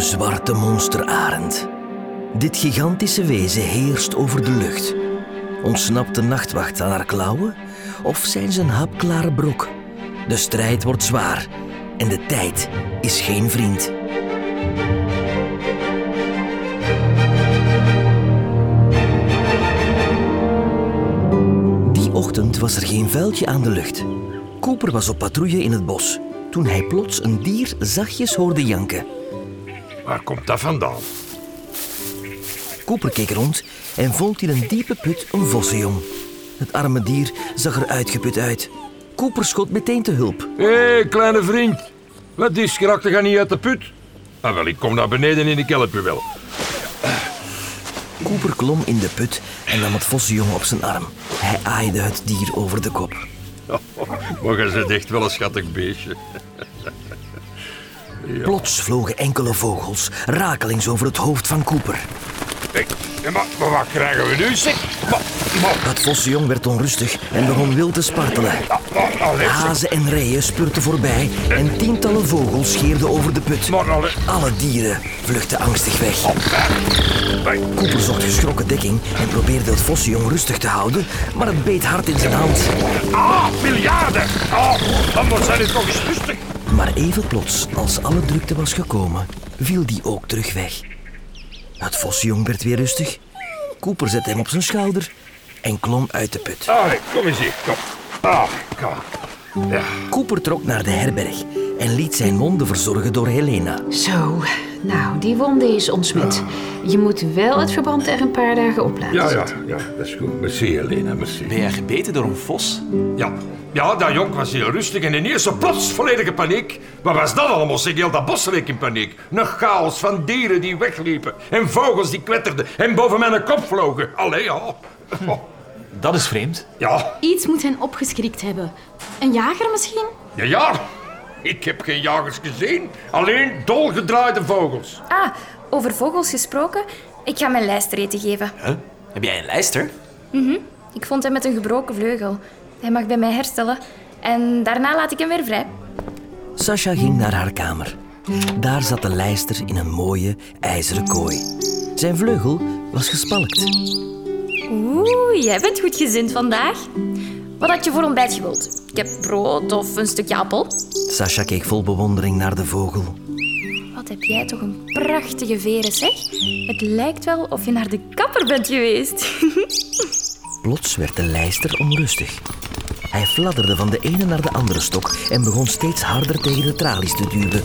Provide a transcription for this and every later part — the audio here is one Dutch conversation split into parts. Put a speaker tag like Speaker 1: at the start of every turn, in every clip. Speaker 1: zwarte monsterarend. Dit gigantische wezen heerst over de lucht. Ontsnapt de nachtwacht aan haar klauwen? Of zijn ze een hapklare brok? De strijd wordt zwaar en de tijd is geen vriend. Die ochtend was er geen vuiltje aan de lucht. Cooper was op patrouille in het bos toen hij plots een dier zachtjes hoorde janken.
Speaker 2: Waar komt dat vandaan?
Speaker 1: Cooper keek rond en vond in een diepe put een vossenjong. Het arme dier zag er uitgeput uit. Cooper schot meteen te hulp.
Speaker 2: Hé, kleine vriend. Wat is, geraakte ga niet uit de put? Ah, wel, ik kom naar beneden in ik help je wel.
Speaker 1: Cooper klom in de put en nam het vossenjong op zijn arm. Hij aaide het dier over de kop.
Speaker 2: Maar je bent echt wel een schattig beestje.
Speaker 1: Plots vlogen enkele vogels rakelings over het hoofd van Cooper.
Speaker 2: Hé, hé, maar, maar wat krijgen we nu, zeg? Maar, maar,
Speaker 1: Het vossenjong werd onrustig en begon wild te spartelen.
Speaker 2: maar, allee, zeg.
Speaker 1: Hazen en reeën spurten voorbij en tientallen vogels scheerden over de put.
Speaker 2: maar, allee.
Speaker 1: Alle dieren vluchtten angstig weg.
Speaker 2: Hey,
Speaker 1: Cooper zocht geschrokken dekking en probeerde het vossenjong rustig te houden, maar het beet hard in zijn hand.
Speaker 2: Ah, miljarden! Ah, dan moet zijn het toch eens rustig.
Speaker 1: Maar even plots, als alle drukte was gekomen, viel die ook terug weg. Het vossenjong werd weer rustig. Cooper zette hem op zijn schouder en klom uit de put.
Speaker 2: Allee, kom eens hier, kom. Ah, kom. Ja,
Speaker 1: Cooper trok naar de herberg en liet zijn wonden verzorgen door Helena.
Speaker 3: Zo, nou, die wonde is ontsmet. Je moet wel het verband er een paar dagen op laten
Speaker 2: ja, ja,
Speaker 3: zitten.
Speaker 2: ja, dat is goed. Merci, Helena, merci.
Speaker 4: Ben jij gebeten door een vos?
Speaker 2: Ja. ja, dat jong was heel rustig en ineens zo plots volledige paniek. Wat was dat allemaal? Zeg, heel dat bos leek in paniek. Een chaos van dieren die wegliepen en vogels die kwetterden en boven mijn kop vlogen. Allee, ja.
Speaker 4: Dat is vreemd.
Speaker 2: Ja,
Speaker 5: Iets moet hen opgeschrikt hebben. Een jager misschien?
Speaker 2: ja, ja. Ik heb geen jagers gezien, alleen dolgedraaide vogels.
Speaker 6: Ah, over vogels gesproken. Ik ga mijn lijstreten geven.
Speaker 4: Huh? Heb jij een lijster?
Speaker 6: Ik vond hem met een gebroken vleugel. Hij mag bij mij herstellen. En daarna laat ik hem weer vrij.
Speaker 1: Sasha ging naar haar kamer. Daar zat de lijster in een mooie ijzeren kooi. Zijn vleugel was gespalkt.
Speaker 6: Oeh, jij bent goed gezind vandaag. Wat had je voor ontbijt gewild? Ik heb brood of een stukje appel.
Speaker 1: Sasha keek vol bewondering naar de vogel.
Speaker 6: Wat heb jij toch een prachtige veren, zeg? Het lijkt wel of je naar de kapper bent geweest.
Speaker 1: Plots werd de lijster onrustig. Hij fladderde van de ene naar de andere stok en begon steeds harder tegen de tralies te duwen.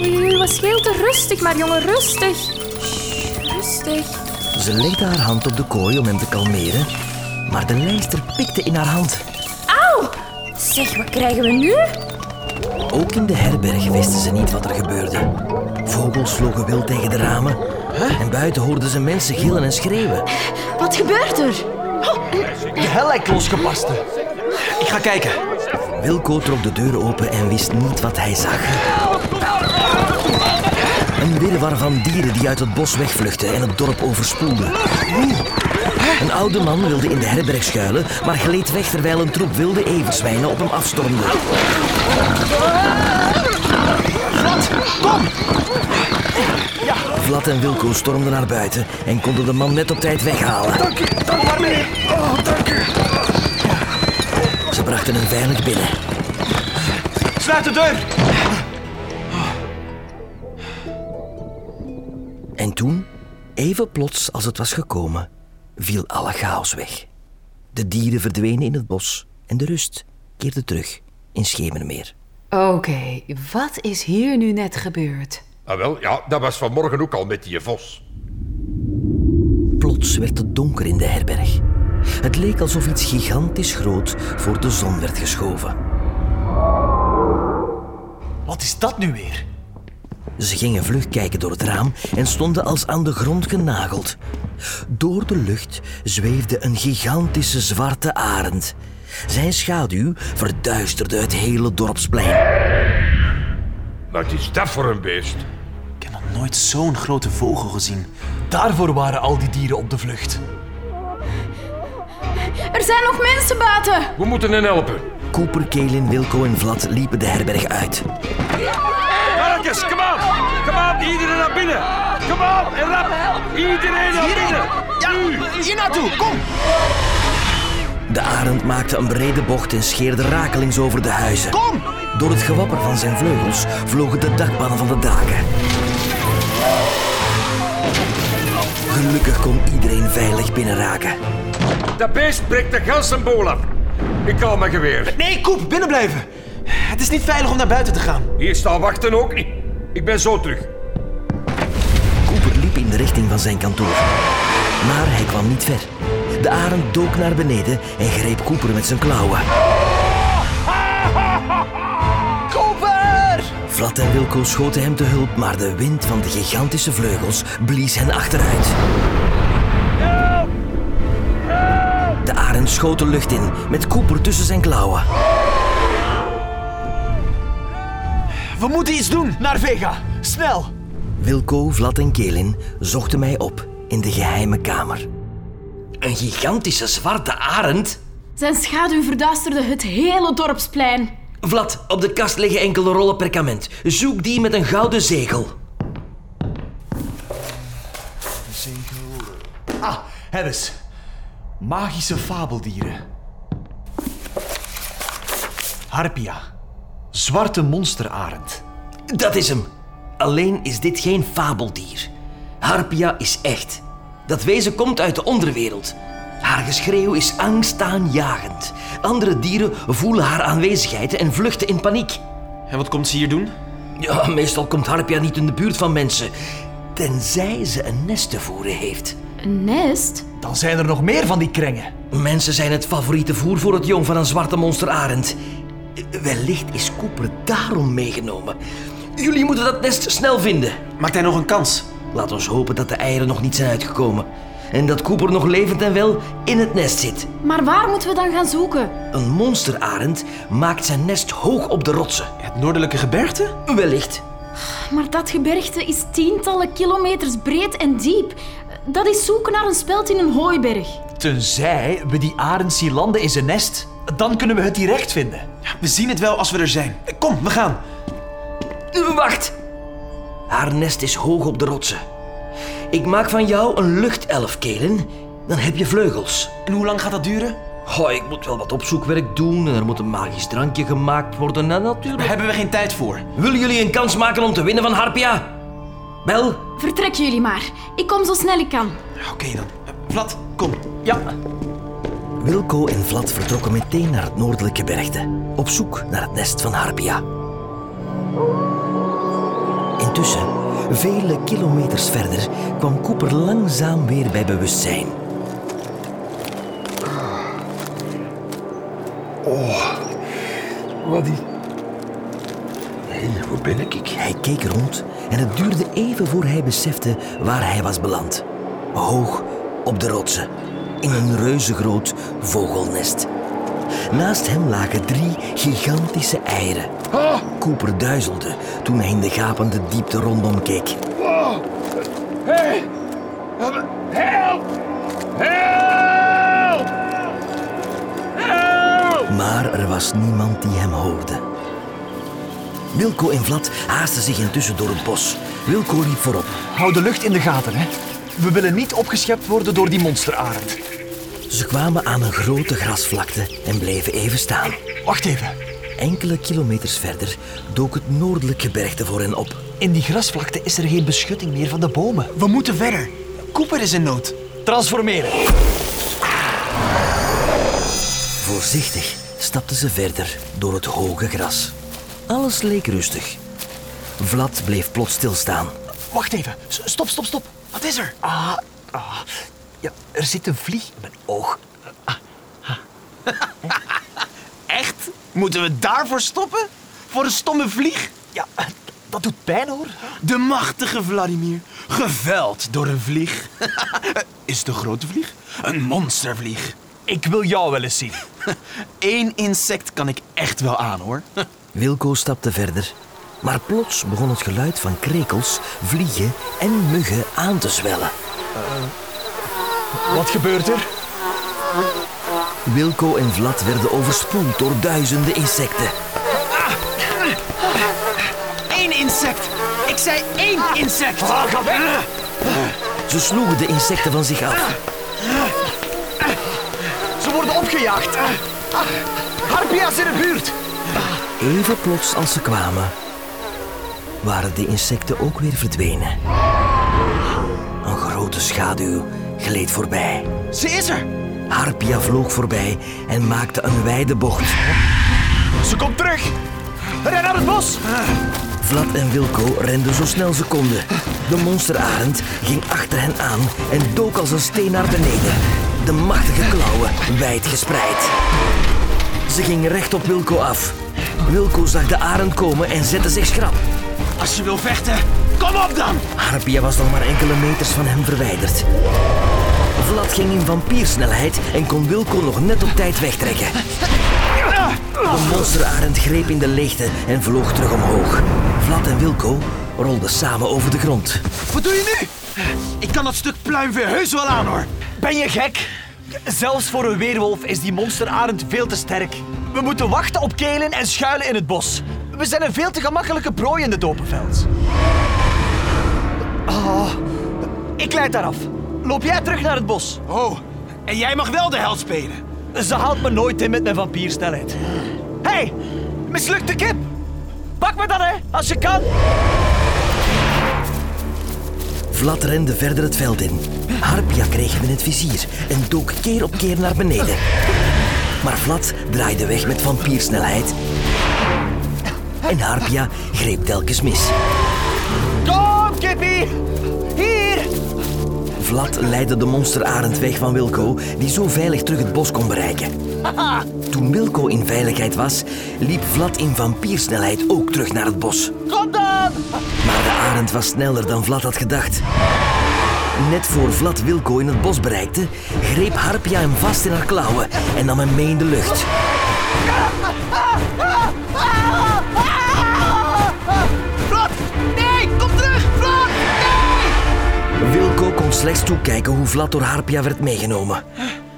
Speaker 6: Oei, oei, wat scheelt er? Rustig maar, jongen, rustig. Sst, Rustig.
Speaker 1: Ze legde haar hand op de kooi om hem te kalmeren, maar de lijster pikte in haar hand.
Speaker 6: Auw! Zeg, wat krijgen we nu?
Speaker 1: Ook in de herberg wisten ze niet wat er gebeurde. Vogels vlogen wild tegen de ramen en buiten hoorden ze mensen gillen en schreeuwen.
Speaker 5: Wat gebeurt er?
Speaker 4: De hel lijkt losgebarsten. Ik ga kijken.
Speaker 1: Wilco trok de deur open en wist niet wat hij zag. Een wirwar van dieren die uit het bos wegvluchtten en het dorp overspoelden. Een oude man wilde in de herberg schuilen, maar gleed weg terwijl een troep wilde everzwijnen op hem afstormde. Vlad en Wilco stormden naar buiten en konden de man net op tijd weghalen. Ze brachten hem veilig binnen.
Speaker 4: Sluit de deur.
Speaker 1: En toen, even plots als het was gekomen, viel alle chaos weg. De dieren verdwenen in het bos en de rust keerde terug in Schemermeer.
Speaker 3: Oké, wat is hier nu net gebeurd?
Speaker 2: Ah wel, ja, dat was vanmorgen ook al met die vos.
Speaker 1: Plots werd het donker in de herberg. Het leek alsof iets gigantisch groot voor de zon werd geschoven.
Speaker 4: Wat is dat nu weer?
Speaker 1: Ze gingen vlug kijken door het raam en stonden als aan de grond genageld. Door de lucht zweefde een gigantische zwarte arend. Zijn schaduw verduisterde het hele dorpsplein.
Speaker 2: Wat is dat voor een beest?
Speaker 4: Ik heb nog nooit zo'n grote vogel gezien. Daarvoor waren al die dieren op de vlucht.
Speaker 5: Er zijn nog mensen buiten!
Speaker 2: We moeten hen helpen.
Speaker 1: Cooper, Kelin, Wilco en Vlad liepen de herberg uit.
Speaker 2: mannetjes, kom aan. Kom aan, iedereen naar binnen. Kom aan, en rap. Iedereen naar binnen. Nu.
Speaker 4: Hier naartoe, kom!
Speaker 1: De arend maakte een brede bocht en scheerde rakelings over de huizen.
Speaker 4: Kom!
Speaker 1: Door het gewapper van zijn vleugels vlogen de dakpannen van de daken. Gelukkig kon iedereen veilig binnenraken.
Speaker 2: Dat beest breekt de ganse boel af. Ik haal mijn geweer.
Speaker 4: Nee, Koep, binnen blijven. Het is niet veilig om naar buiten te gaan.
Speaker 2: Hier staan wachten ook niet. Ik ben zo terug.
Speaker 1: Cooper liep in de richting van zijn kantoor. Maar hij kwam niet ver. De arend dook naar beneden en greep Cooper met zijn klauwen.
Speaker 4: Koper!
Speaker 1: Vlad en Wilco schoten hem te hulp, maar de wind van de gigantische vleugels blies hen achteruit. De arend schoot de lucht in, met Cooper tussen zijn klauwen.
Speaker 4: We moeten iets doen! Naar Vega! Snel!
Speaker 1: Wilco, Vlad en Kelin zochten mij op in de geheime kamer. Een gigantische zwarte arend?
Speaker 5: Zijn schaduw verduisterde het hele dorpsplein.
Speaker 1: Vlad, op de kast liggen enkele rollen perkament. Zoek die met een gouden zegel.
Speaker 4: Ah, heb eens. Magische fabeldieren. Harpia. Zwarte monsterarend.
Speaker 1: Dat is hem. Alleen is dit geen fabeldier. Harpia is echt. Dat wezen komt uit de onderwereld. Haar geschreeuw is angstaanjagend. Andere dieren voelen haar aanwezigheid en vluchten in paniek.
Speaker 4: En wat komt ze hier doen?
Speaker 1: Ja, meestal komt Harpia niet in de buurt van mensen. Tenzij ze een nest te voeren heeft.
Speaker 5: Een nest?
Speaker 4: Dan zijn er nog meer van die krengen.
Speaker 1: Mensen zijn het favoriete voer voor het jong van een zwarte monsterarend. Wellicht is Cooper daarom meegenomen. Jullie moeten dat nest snel vinden.
Speaker 4: Maakt hij nog een kans?
Speaker 1: Laat ons hopen dat de eieren nog niet zijn uitgekomen. En dat Cooper nog levend en wel in het nest zit.
Speaker 5: Maar waar moeten we dan gaan zoeken?
Speaker 1: Een monsterarend maakt zijn nest hoog op de rotsen.
Speaker 4: Het noordelijke gebergte?
Speaker 1: Wellicht.
Speaker 5: Maar dat gebergte is tientallen kilometers breed en diep. Dat is zoeken naar een speld in een hooiberg.
Speaker 4: Tenzij we die arend zien landen in zijn nest. Dan kunnen we het direct vinden. we zien het wel als we er zijn. Kom, we gaan.
Speaker 1: Eh, Wacht! Haar nest is hoog op de rotsen. Ik maak van jou een luchtelf, Kelen. Dan heb je vleugels.
Speaker 4: En hoe lang gaat dat duren?
Speaker 1: Oh, ik moet wel wat opzoekwerk doen en er moet een magisch drankje gemaakt worden en natuurlijk...
Speaker 4: hebben we geen tijd voor.
Speaker 1: Willen jullie een kans maken om te winnen van Harpia? Wel,
Speaker 5: Vertrek jullie maar. Ik kom zo snel ik kan.
Speaker 4: Oké dan. Vlad, kom. Ja.
Speaker 1: Wilco en Vlad vertrokken meteen naar het noordelijke bergte, op zoek naar het nest van Harpia. Intussen, vele kilometers verder, kwam Cooper langzaam weer bij bewustzijn.
Speaker 2: Wat die... Nee, hoe ben ik?
Speaker 1: Hij keek rond en het duurde even voor hij besefte waar hij was beland. Hoog op de rotsen, in een reuzengroot vogelnest. Naast hem lagen drie gigantische eieren.
Speaker 2: Ah,
Speaker 1: Cooper duizelde toen hij in de gapende diepte rondom keek.
Speaker 2: wow. Hey. Help. Help. Help.
Speaker 1: Maar er was niemand die hem hoorde. Wilco en Vlad haasten zich intussen door het bos. Wilco liep voorop.
Speaker 4: Hou de lucht in de gaten, hè. We willen niet opgeschept worden door die monsterarend.
Speaker 1: Ze kwamen aan een grote grasvlakte en bleven even staan.
Speaker 4: Wacht even.
Speaker 1: Enkele kilometers verder dook het noordelijk gebergte voor hen op.
Speaker 4: In die grasvlakte is er geen beschutting meer van de bomen. We moeten verder. Cooper is in nood. Transformeren.
Speaker 1: Voorzichtig stapten ze verder door het hoge gras. Alles leek rustig. Vlad bleef plots stilstaan.
Speaker 4: Wacht even. S- Stop, stop, stop. Wat is er? Ah, ah. Ja, er zit een vlieg in mijn oog. Ah. Echt? Moeten we daarvoor stoppen? Voor een stomme vlieg? Ja, dat doet pijn hoor.
Speaker 7: De machtige Vladimir, geveld door een vlieg. Is het een grote vlieg? Een monstervlieg.
Speaker 4: Ik wil jou wel eens zien.
Speaker 7: Eén insect kan ik echt wel aan, hoor.
Speaker 1: Wilco stapte verder. Maar plots begon het geluid van krekels, vliegen en muggen aan te zwellen.
Speaker 4: Wat gebeurt er?
Speaker 1: Wilco en Vlad werden overspoeld door duizenden insecten.
Speaker 7: Eén
Speaker 8: insect. Ik zei één insect.
Speaker 4: Ah,
Speaker 1: Ze sloegen de insecten van zich af.
Speaker 8: Ze worden opgejaagd. Ah, Harpia's in de buurt.
Speaker 1: Even plots als ze kwamen, waren de insecten ook weer verdwenen. Een grote schaduw gleed voorbij.
Speaker 8: Ze is er.
Speaker 1: Harpia vloog voorbij en maakte een wijde bocht.
Speaker 8: Ze komt terug. Ren naar het bos.
Speaker 1: Vlad en Wilco renden zo snel ze konden. De monsterarend ging achter hen aan en dook als een steen naar beneden. De machtige klauwen wijd gespreid. Ze ging recht op Wilco af. Wilco zag de arend komen en zette zich schrap.
Speaker 7: Als je wil vechten, kom op dan!
Speaker 1: Harpia was nog maar enkele meters van hem verwijderd. Vlad ging in vampiersnelheid en kon Wilco nog net op tijd wegtrekken. De monsterarend greep in de leegte en vloog terug omhoog. Vlad en Wilco rolden samen over de grond.
Speaker 7: Wat doe je nu? Ik kan dat stuk pluim weer heus wel aan hoor.
Speaker 4: Ben je gek? Zelfs voor een weerwolf is die monsterarend veel te sterk. We moeten wachten op kelen en schuilen in het bos. We zijn een veel te gemakkelijke prooi in dit openveld. Ah, ik leid daar af. Loop jij terug naar het bos.
Speaker 7: Oh, en jij mag wel de held spelen.
Speaker 4: Ze haalt me nooit in met mijn vampiersnelheid. Hé, hey, mislukte kip! Pak me dan, hè, als je kan!
Speaker 1: Vlad rende verder het veld in. Harpia kreeg hem in het vizier en dook keer op keer naar beneden. Maar Vlad draaide weg met vampiersnelheid. En Harpia greep telkens mis.
Speaker 4: Kom, kippie! Hier!
Speaker 1: Vlad leidde de monsterarend weg van Wilco, die zo veilig terug het bos kon bereiken. Toen Wilco in veiligheid was, liep Vlad in vampiersnelheid ook terug naar het bos.
Speaker 4: Kom dan!
Speaker 1: Maar de arend was sneller dan Vlad had gedacht. Net voor Vlad Wilco in het bos bereikte, greep Harpia hem vast in haar klauwen en nam hem mee in de lucht.
Speaker 8: Vlad, nee, kom terug. Vlad, nee.
Speaker 1: Wilco kon slechts toekijken hoe Vlad door Harpia werd meegenomen.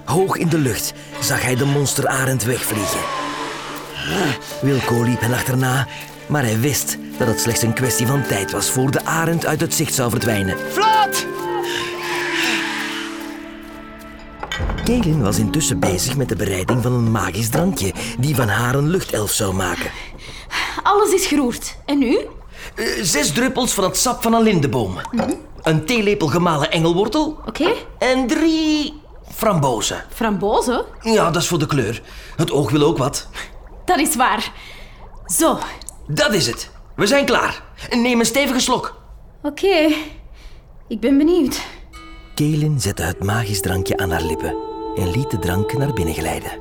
Speaker 1: Hoog in de lucht zag hij de monsterarend wegvliegen. Wilco liep hen achterna, maar hij wist dat het slechts een kwestie van tijd was voor de arend uit het zicht zou verdwijnen.
Speaker 7: Vlad!
Speaker 1: Kaelin was intussen bezig met de bereiding van een magisch drankje die van haar een luchtelf zou maken.
Speaker 5: Alles is geroerd. En nu? Oké,
Speaker 1: Eh, zes druppels van het sap van een lindeboom, een theelepel gemalen engelwortel en drie frambozen.
Speaker 5: frambozen.
Speaker 1: Ja, dat is voor de kleur. Het oog wil ook wat.
Speaker 5: Dat is waar. Zo. Oké.
Speaker 1: Dat is het. We zijn klaar. Neem een stevige slok.
Speaker 5: Ik ben benieuwd.
Speaker 1: Kaelin zette het magisch drankje aan haar lippen en liet de drank naar binnen glijden.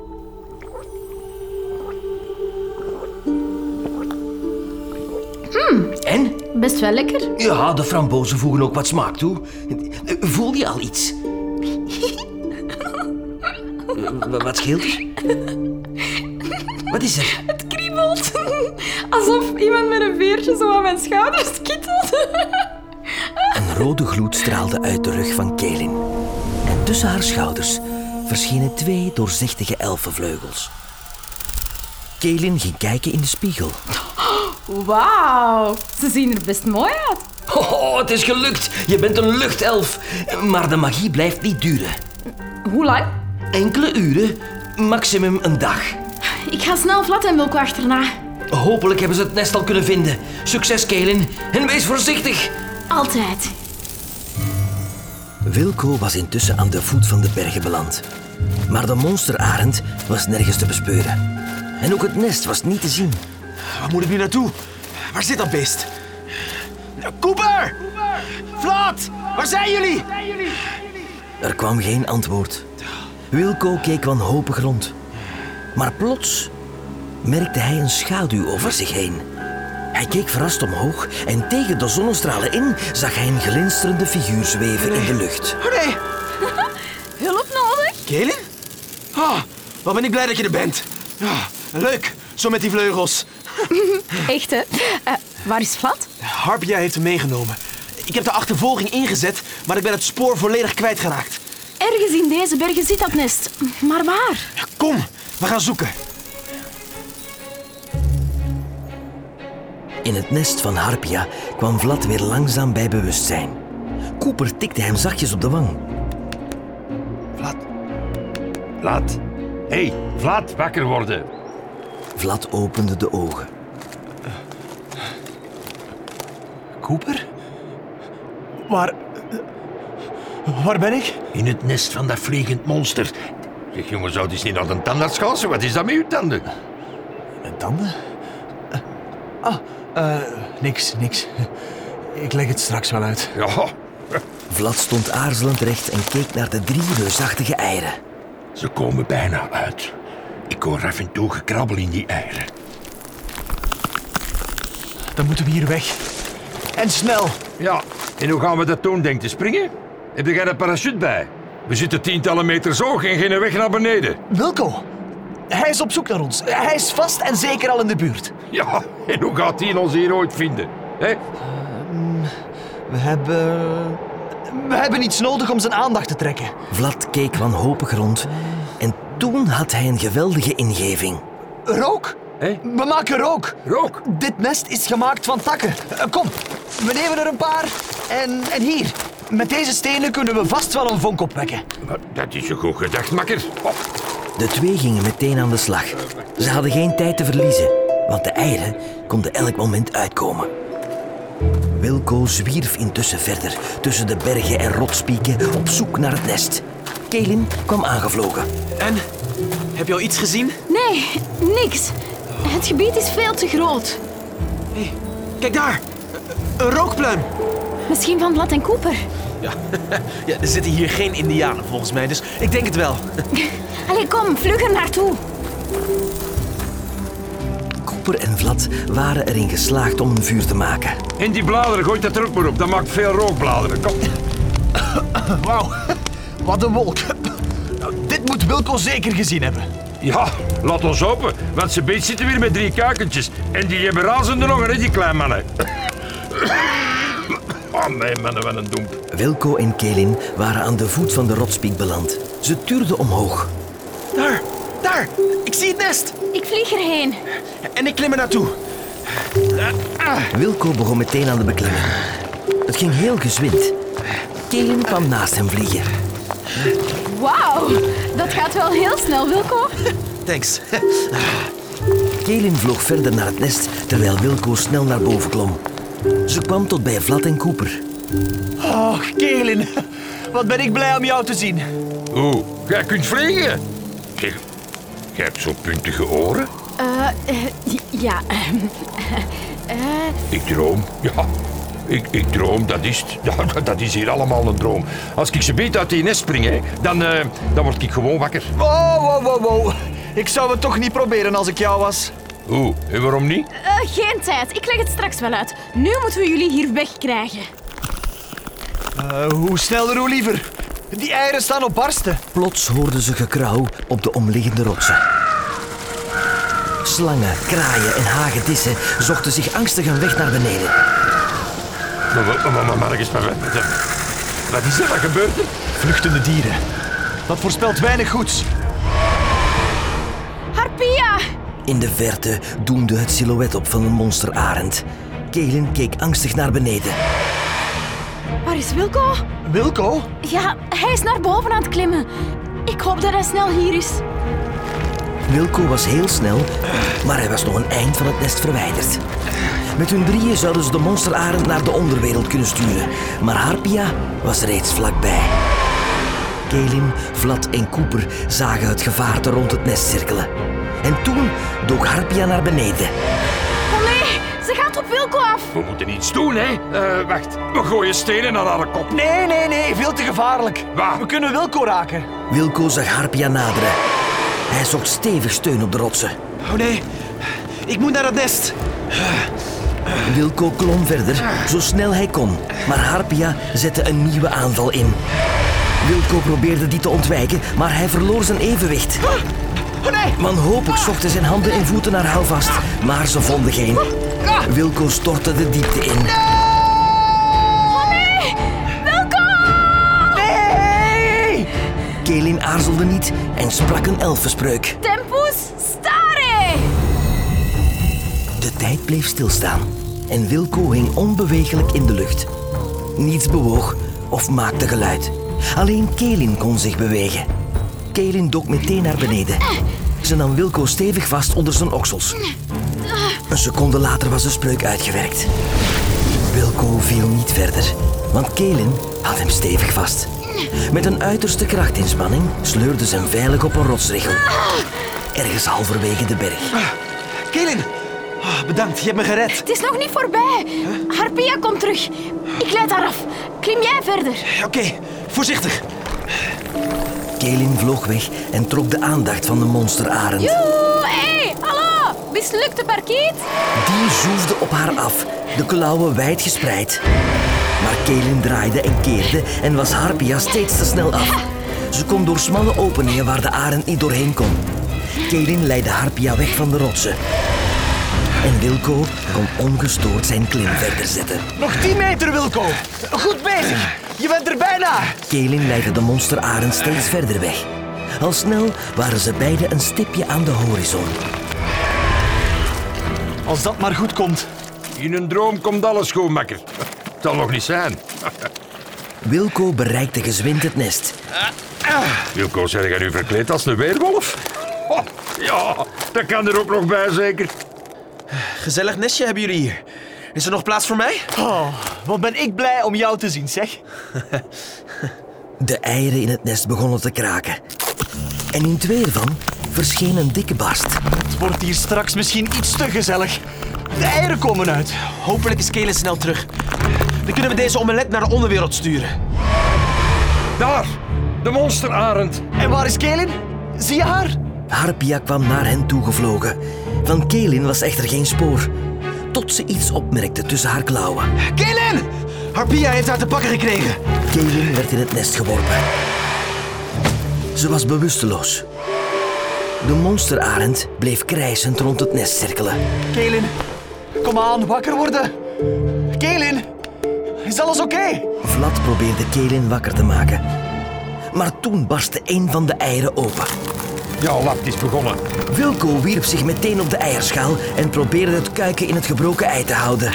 Speaker 1: Hmm, En?
Speaker 5: Best wel lekker.
Speaker 1: Ja, de frambozen voegen ook wat smaak toe. Eh, Voel je al iets? Eh, wa- Wat scheelt er? Wat is er?
Speaker 5: Het kriebelt. Alsof iemand met een veertje zo aan mijn schouders kittelt.
Speaker 1: Een rode gloed straalde uit de rug van Kaelin. En tussen haar schouders verschenen twee doorzichtige elfenvleugels. Kaelin ging kijken in de spiegel.
Speaker 5: Wauw. Ze zien er best mooi uit.
Speaker 1: Oh, het is gelukt! Je bent een luchtelf! Maar de magie blijft niet duren.
Speaker 5: Hoe lang?
Speaker 1: Enkele uren, maximum een dag.
Speaker 5: Ik ga snel Vlad en Wilco achterna.
Speaker 1: Hopelijk hebben ze het nest al kunnen vinden. Succes, Kaelin. En wees voorzichtig.
Speaker 5: Altijd.
Speaker 1: Wilco was intussen aan de voet van de bergen beland. Maar de monsterarend was nergens te bespeuren. En ook het nest was niet te zien.
Speaker 7: Waar moet ik nu naartoe? Waar zit dat beest? Cooper! Vlad! Waar zijn jullie?
Speaker 1: Er kwam geen antwoord. Wilco keek wanhopig rond. Maar plots merkte hij een schaduw over zich heen. Hij keek verrast omhoog en tegen de zonnestralen in zag hij een glinsterende figuur zweven in de lucht.
Speaker 7: Oh nee,
Speaker 5: Hulp nodig?
Speaker 7: Kaelin? Ah, wat ben ik blij dat je er bent. Ah, leuk, zo met die vleugels.
Speaker 5: Echt, hè? Eh, waar is Vlad?
Speaker 7: Harpia heeft hem meegenomen. Ik heb de achtervolging ingezet, maar ik ben het spoor volledig kwijtgeraakt.
Speaker 5: Ergens in deze bergen zit dat nest. Maar waar?
Speaker 7: Kom, we gaan zoeken.
Speaker 1: In het nest van Harpia kwam Vlad weer langzaam bij bewustzijn. Cooper tikte hem zachtjes op de wang.
Speaker 2: Vlad. Vlad. Hé, hey, Vlad, wakker worden.
Speaker 1: Vlad opende de ogen.
Speaker 4: Cooper? Waar... Waar ben ik?
Speaker 2: In het nest van dat vliegend monster. Zeg, jongen, zou dus niet naar de tandarts gaan? Zo, Wat is dat met uw tanden?
Speaker 4: Mijn tanden? Eh, ah, eh, niks, niks. Ik leg het straks wel uit.
Speaker 2: Ja,
Speaker 1: Vlad stond aarzelend recht en keek naar de drie reusachtige eieren.
Speaker 2: ze komen bijna uit. Ik hoor af en toe gekrabbel in die eieren.
Speaker 4: Dan moeten we hier weg. En snel.
Speaker 2: Ja, en hoe gaan we dat doen, denk je? Springen? Heb jij een parachute bij? We zitten tientallen meters hoog en geen weg naar beneden.
Speaker 4: Wilco, hij is op zoek naar ons. Hij is vast en zeker al in de buurt.
Speaker 2: Ja, en hoe gaat hij ons hier ooit vinden? Hé?
Speaker 4: We hebben... We hebben iets nodig om zijn aandacht te trekken.
Speaker 1: Vlad keek wanhopig rond en toen had hij een geweldige ingeving.
Speaker 4: Rook?
Speaker 2: Hé?
Speaker 4: We maken rook.
Speaker 2: Rook?
Speaker 4: Dit nest is gemaakt van takken. Eh, Kom, we nemen er een paar. En, en hier, met deze stenen kunnen we vast wel een vonk opwekken.
Speaker 2: Maar Dat is een goed gedacht, makker. Oh,
Speaker 1: De twee gingen meteen aan de slag. Ze hadden geen tijd te verliezen, want de eieren konden elk moment uitkomen. Wilco zwierf intussen verder tussen de bergen en rotspieken op zoek naar het nest. Kelin kwam aangevlogen.
Speaker 8: En? Heb je al iets gezien?
Speaker 5: Nee, niks. Het gebied is veel te groot.
Speaker 8: Kijk daar! Een rookpluim!
Speaker 5: Misschien van Vlad en Cooper.
Speaker 8: Ja. ja, er zitten hier geen indianen volgens mij, dus ik denk het wel.
Speaker 5: Allee, kom, vlug er naartoe.
Speaker 1: Cooper en Vlad waren erin geslaagd om een vuur te maken.
Speaker 2: En die bladeren, gooit dat er ook maar op. Dat maakt veel rookbladeren. Kom.
Speaker 4: Wauw, wat een wolk. Nou, Dit moet Wilco zeker gezien hebben.
Speaker 2: Ja, laat ons open. Want ze beet zitten weer met drie kuikentjes. En die hebben razende longen, hè, die kleinmannen. Oh, mijn mannen, wat een domp.
Speaker 1: Wilco en Kelin waren aan de voet van de rotspiek beland. Ze tuurden omhoog.
Speaker 8: Daar! Daar! Ik zie het nest!
Speaker 5: Ik vlieg erheen.
Speaker 8: En ik klim er naartoe.
Speaker 1: Wilco begon meteen aan de beklimming. Het ging heel gezwind. Kelin kwam naast hem vliegen.
Speaker 5: Wauw, dat gaat wel heel snel, Wilco.
Speaker 8: Thanks.
Speaker 1: Kelin vloog verder naar het nest terwijl Wilco snel naar boven klom. Ze kwam tot bij Vlad en Cooper.
Speaker 4: Och, Kelin, wat ben ik blij om jou te zien.
Speaker 2: Oeh, jij kunt vliegen. Zeg, jij hebt zo'n puntige oren.
Speaker 5: Eh, eh, ja, ehm,
Speaker 2: Ik droom, ja. Ik, ik droom, dat is het. Ja, dat- dat is hier allemaal een droom. Als ik ze beet uit die nest spring, hè, dan, eh, dan word ik gewoon wakker.
Speaker 4: Wow, Oh, wow, wow, wow. Ik zou het toch niet proberen als ik jou was.
Speaker 2: Oeh, en waarom niet?
Speaker 5: eh, geen tijd. Ik leg het straks wel uit. Nu moeten we jullie hier wegkrijgen.
Speaker 4: Eh, hoe sneller, hoe liever. Die eieren staan op barsten.
Speaker 1: Plots hoorden ze gekrauw op de omliggende rotsen. Slangen, kraaien en hagedissen zochten zich angstig een weg naar beneden.
Speaker 2: Maar, maar, maar, maar, maar, eens, maar, maar, maar, wat is er? Wat gebeurt er?
Speaker 4: Vluchtende dieren. Dat voorspelt weinig goeds.
Speaker 5: Harpia!
Speaker 1: In de verte doemde het silhouet op van een monsterarend. Kelin keek angstig naar beneden.
Speaker 5: Waar is Wilco?
Speaker 4: Wilco?
Speaker 5: Ja, hij is naar boven aan het klimmen. Ik hoop dat hij snel hier is.
Speaker 1: Wilco was heel snel, maar hij was nog een eind van het nest verwijderd. Met hun drieën zouden ze de monsterarend naar de onderwereld kunnen sturen. Maar Harpia was reeds vlakbij. Kelim, Vlad en Cooper zagen het gevaarte rond het nest cirkelen. En toen dook Harpia naar beneden.
Speaker 5: Oh nee, ze gaat op Wilco af.
Speaker 2: We moeten iets doen, hè? Eh, wacht, we gooien stenen naar haar kop.
Speaker 4: Nee, nee, nee, veel te gevaarlijk.
Speaker 2: Waar?
Speaker 4: We kunnen Wilco raken.
Speaker 1: Wilco zag Harpia naderen. Hij zocht stevig steun op de rotsen.
Speaker 8: Oh nee, ik moet naar dat nest.
Speaker 1: Wilco klom verder, zo snel hij kon. Maar Harpia zette een nieuwe aanval in. Wilco probeerde die te ontwijken, maar hij verloor zijn evenwicht. Wanhopig zochten zijn handen en voeten naar houvast, maar ze vonden geen. Wilco stortte de diepte in. Kelin aarzelde niet en sprak een elfenspreuk.
Speaker 5: Tempus stare!
Speaker 1: De tijd bleef stilstaan. en Wilco hing onbeweeglijk in de lucht. Niets bewoog of maakte geluid. Alleen Kelin kon zich bewegen. Kelin dook meteen naar beneden. Ze nam Wilco stevig vast onder zijn oksels. Een seconde later was de spreuk uitgewerkt. Wilco viel niet verder, want Kelin had hem stevig vast. Met een uiterste krachtinspanning sleurde ze hem veilig op een rotsrichel. Ergens halverwege de berg.
Speaker 4: Kelin,
Speaker 8: Oh,
Speaker 4: ah, bedankt, je hebt me gered.
Speaker 5: Het is nog niet voorbij. Harpia komt terug. Ik leid haar af. Klim jij verder.
Speaker 4: Oké, voorzichtig.
Speaker 1: Kelin vloog weg en trok de aandacht van de monsterarend.
Speaker 5: Joe, hey, hallo. Mislukte parkiet?
Speaker 1: Die zoefde op haar af, de klauwen wijd gespreid. Maar Kelin draaide en keerde en was Harpia steeds te snel af. Ze kon door smalle openingen waar de arend niet doorheen kon. Kelin leidde Harpia weg van de rotsen. En Wilco kon ongestoord zijn klim verder zetten.
Speaker 4: Nog 10 meter, Wilco. Goed bezig. Je bent er bijna.
Speaker 1: Kelin leidde de monsterarend steeds verder weg. Al snel waren ze beiden een stipje aan de horizon.
Speaker 4: Als dat maar goed komt.
Speaker 2: In een droom komt alles goed, makker. Het zal nog niet zijn.
Speaker 1: Wilco bereikte gezwind het nest.
Speaker 2: Wilco, zeg jij nu verkleed als een weerwolf? Oh, ja, dat kan er ook nog bij, zeker.
Speaker 8: Gezellig nestje hebben jullie hier. Is er nog plaats voor mij?
Speaker 4: Oh, wat ben ik blij om jou te zien, zeg.
Speaker 1: De eieren in het nest begonnen te kraken. En in twee ervan verscheen een dikke barst.
Speaker 4: Het wordt hier straks misschien iets te gezellig. De eieren komen uit.
Speaker 8: Hopelijk is Kelen snel terug. Dan kunnen we deze omelet naar de onderwereld sturen.
Speaker 2: Daar, de monsterarend.
Speaker 4: En waar is Kelin? Zie je haar?
Speaker 1: Harpia kwam naar hen toegevlogen. Van Kelin was echter geen spoor. Tot ze iets opmerkte tussen haar klauwen.
Speaker 8: Kelen! Harpia heeft haar te pakken gekregen.
Speaker 1: Kelin werd in het nest geworpen. Ze was bewusteloos. De monsterarend bleef krijsend rond het nest cirkelen.
Speaker 4: Kelin, kom aan, wakker worden. Kelin, is alles oké?
Speaker 1: Vlad probeerde Kelin wakker te maken. Maar toen barstte een van de eieren open.
Speaker 2: Ja, lap, het is begonnen.
Speaker 1: Wilco wierp zich meteen op de eierschaal en probeerde het kuiken in het gebroken ei te houden.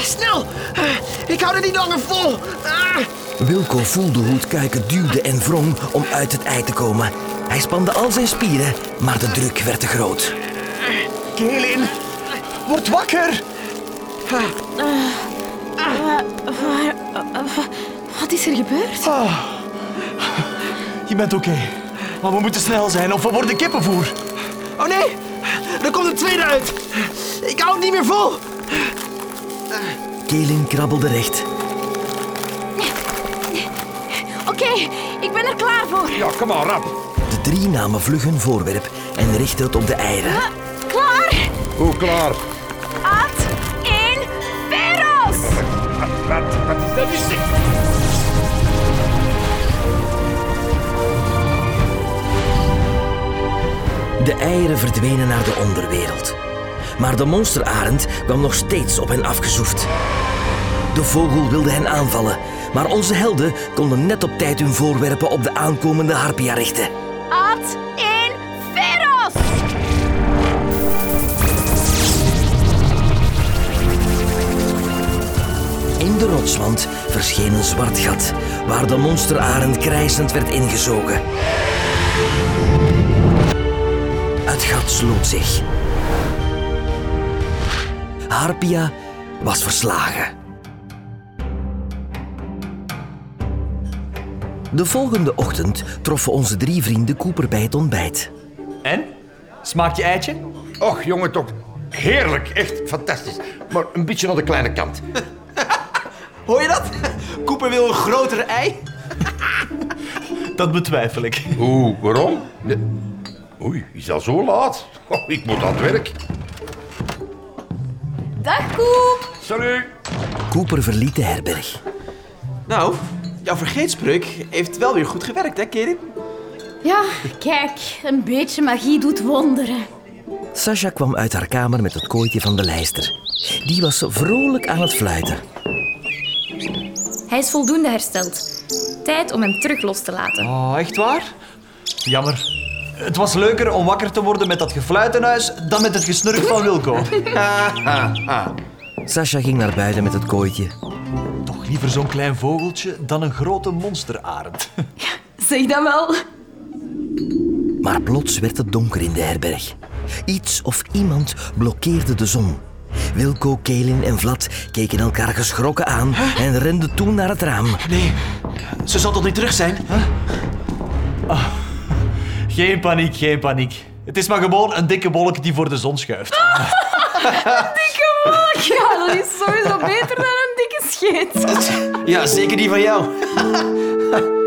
Speaker 8: Snel! Eh, Ik hou er niet langer vol. Ah.
Speaker 1: Wilco voelde hoe het kuiken duwde en wrong om uit het ei te komen. Hij spande al zijn spieren, maar de druk werd te groot.
Speaker 4: Kelin, word wakker.
Speaker 5: Eh, Wat is er gebeurd?
Speaker 4: Ah, Je bent oké. Maar we moeten snel zijn of we worden kippenvoer.
Speaker 8: Oh nee! Er komt een tweede uit. Ik hou het niet meer vol.
Speaker 1: Kelin krabbelde recht.
Speaker 5: Oké, ik ben er klaar voor.
Speaker 2: Ja, kom maar, rap.
Speaker 1: De drie namen vlug hun voorwerp en richtten het op de eieren.
Speaker 5: Eh, Klaar?
Speaker 2: Hoe klaar?
Speaker 5: At in Veros!
Speaker 2: Wat, wat, dat is dit?
Speaker 1: De eieren verdwenen naar de onderwereld. Maar de monsterarend kwam nog steeds op hen afgezoefd. De vogel wilde hen aanvallen, maar onze helden konden net op tijd hun voorwerpen op de aankomende harpia richten.
Speaker 5: At in Veros!
Speaker 1: In de rotswand verscheen een zwart gat, waar de monsterarend krijsend werd ingezogen. Het gat sloot zich. Harpia was verslagen. De volgende ochtend troffen onze drie vrienden Cooper bij het ontbijt.
Speaker 4: En? Smaakt je eitje?
Speaker 2: Och, jongen, toch. Heerlijk, echt fantastisch. Maar een beetje aan de kleine kant.
Speaker 4: Hoor je dat? Cooper wil een groter ei. Dat betwijfel ik.
Speaker 2: Oeh, waarom? Nee. Oei, is dat zo laat? Oh, ik moet aan het werk.
Speaker 5: Dag Koep!
Speaker 2: Salut.
Speaker 1: Cooper verliet de herberg.
Speaker 8: Nou, jouw vergeetspreuk heeft wel weer goed gewerkt, hè, Kelen?
Speaker 5: Ja, kijk, een beetje magie doet wonderen.
Speaker 1: Sasha kwam uit haar kamer met het kooitje van de lijster. Die was vrolijk aan het fluiten.
Speaker 6: Hij is voldoende hersteld. Tijd om hem terug los te laten.
Speaker 4: Oh, echt waar? Jammer. Het was leuker om wakker te worden met dat gefluitenhuis dan met het gesnurk van Wilco.
Speaker 1: Sasha ging naar buiten met het kooitje.
Speaker 4: Toch liever zo'n klein vogeltje dan een grote monsterarend.
Speaker 5: Zeg dat wel.
Speaker 1: Maar plots werd het donker in de herberg. Iets of iemand blokkeerde de zon. Wilco, Kelin en Vlad keken elkaar geschrokken aan en renden toen naar het raam.
Speaker 8: Nee, ze zal toch niet terug zijn?
Speaker 4: Ah, Geen paniek, geen paniek. Het is maar gewoon een dikke wolk die voor de zon schuift.
Speaker 5: Ja, dat is sowieso beter dan een dikke scheet.
Speaker 8: Ja, zeker die van jou.